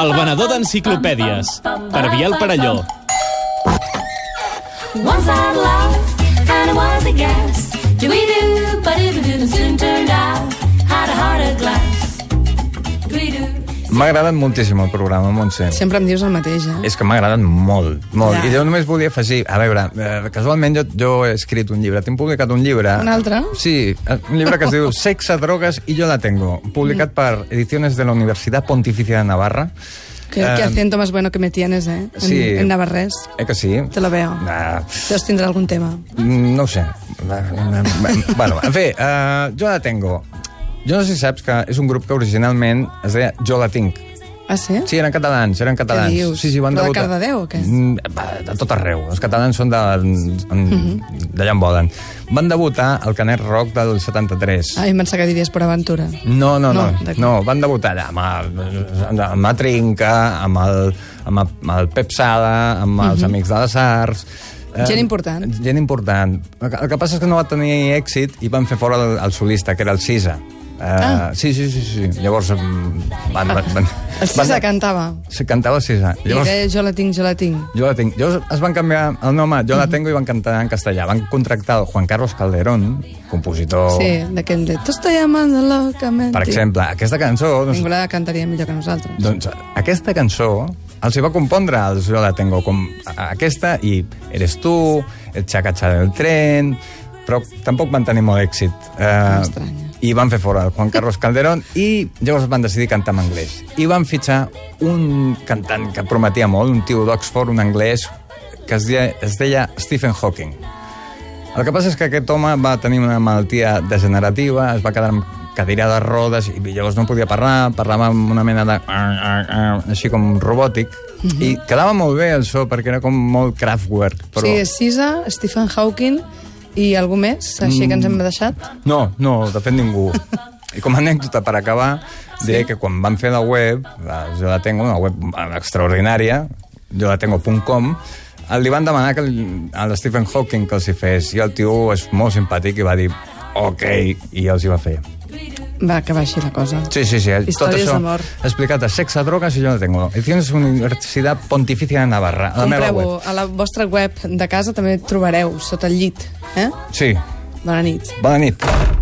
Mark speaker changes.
Speaker 1: El venedor d'enciclopèdies, per Biel Parelló.
Speaker 2: Once I loved, and I was a guest. Do we do, but it soon turned out. Had a heart of glass. Do-we-do.
Speaker 3: M'ha agradat moltíssim el programa, Montse.
Speaker 4: Sempre em dius el mateix, eh?
Speaker 3: És que m'ha agradat molt, molt.
Speaker 4: Ja.
Speaker 3: I jo només volia afegir... A veure, eh, casualment jo, jo he escrit un llibre, tinc publicat un llibre...
Speaker 4: Un altre?
Speaker 3: Sí, eh, un llibre que es diu Sexe, drogues i jo la tengo,
Speaker 4: Mm.
Speaker 3: publicat per Ediciones de la Universitat Pontificia de Navarra.
Speaker 4: Que,
Speaker 3: Eh,
Speaker 4: que acento más bueno que me tienes, eh? En,
Speaker 3: Sí.
Speaker 4: en navarrés.
Speaker 3: Eh que sí?
Speaker 4: Te lo veo.
Speaker 3: Ah,
Speaker 4: Deus tindre algun tema.
Speaker 3: Mm, No ho sé. bueno, en fi, uh, jo la tengo. Jo no sé si saps que és un grup que originalment es deia Jo la tinc.
Speaker 4: Ah, sí?
Speaker 3: Sí, eren catalans, eren catalans.
Speaker 4: dius?
Speaker 3: Sí, sí, van
Speaker 4: Però de
Speaker 3: debutar.
Speaker 4: Cardedeu, o què?
Speaker 3: Mm, va, De tot arreu. Els catalans són de, en-
Speaker 4: Mhm.
Speaker 3: d'allà en volen. Van debutar al Canet Rock del 73.
Speaker 4: Ah, em pensava que diries per aventura.
Speaker 3: No, no, no.
Speaker 4: No, d'acord.
Speaker 3: No, van debutar allà amb el, amb la Trinca, amb el, amb el, amb el Pep Sala, amb els Amics de les Arts...
Speaker 4: Mhm.
Speaker 3: Eh,
Speaker 4: Gent important.
Speaker 3: Gent important. El que- el que passa és que no va tenir èxit i van fer fora el, el solista, que era el Sisa. Uh, ah. Sí, sí, sí, sí. Llavors mm, van... van, van
Speaker 4: El Cisa cantava.
Speaker 3: Sí, cantava el Sisa.
Speaker 4: I deia, jo la tinc, jo la tinc.
Speaker 3: Jo la tinc. Llavors es van canviar el nom a Jo la tengo i van cantar en castellà. Van contractar el Juan Carlos Calderón, compositor...
Speaker 4: Sí, d'aquell de... Te estoy llamando locamente.
Speaker 3: Oh. Per exemple, aquesta cançó... Doncs,
Speaker 4: Ningú la cantaria millor que nosaltres.
Speaker 3: Doncs aquesta cançó els hi va compondre als Jo la tengo com a- aquesta i Eres tu, el xacatxa del tren, però tampoc van tenir molt èxit. Eh,
Speaker 4: M'estranya.
Speaker 3: I van fer fora el Juan Carlos Calderón i llavors van decidir cantar en anglès. I van fitxar un cantant que prometia molt, un tio d'Oxford, un anglès, que es deia, es deia Stephen Hawking. El que passa és que aquest home va tenir una malaltia degenerativa, es va quedar amb cadira de rodes i llavors no podia parlar, parlava amb una mena de... així com robòtic, i quedava molt bé el so perquè era com molt Kraftwerk,
Speaker 4: Però...
Speaker 3: però...
Speaker 4: Mhm. Sí, és Cisa, Stephen Hawking i algú més, així que ens
Speaker 3: Mm.
Speaker 4: hem deixat.
Speaker 3: No, no, de fet ningú. I com a anècdota, per acabar, diré que quan van fer la web, la, jo la tengo, una web extraordinària, jo la tengo.com, li van demanar que el- a l'Stephen Hawking que els hi fes, i el tio és molt simpàtic i va dir ok, i els hi va fer.
Speaker 4: Va, que baixi la cosa.
Speaker 3: Sí, sí, sí. tot
Speaker 4: Històries
Speaker 3: això
Speaker 4: d'amor.
Speaker 3: explicat a Sexa, Drogas i Jo la tengo. Ediciones Universitat Pontificia de Navarra, a la meva
Speaker 4: Compreu-ho.
Speaker 3: web.
Speaker 4: A la vostra web de casa també trobareu, sota el llit. Eh?
Speaker 3: Sí.
Speaker 4: Bona nit.
Speaker 3: Bona nit.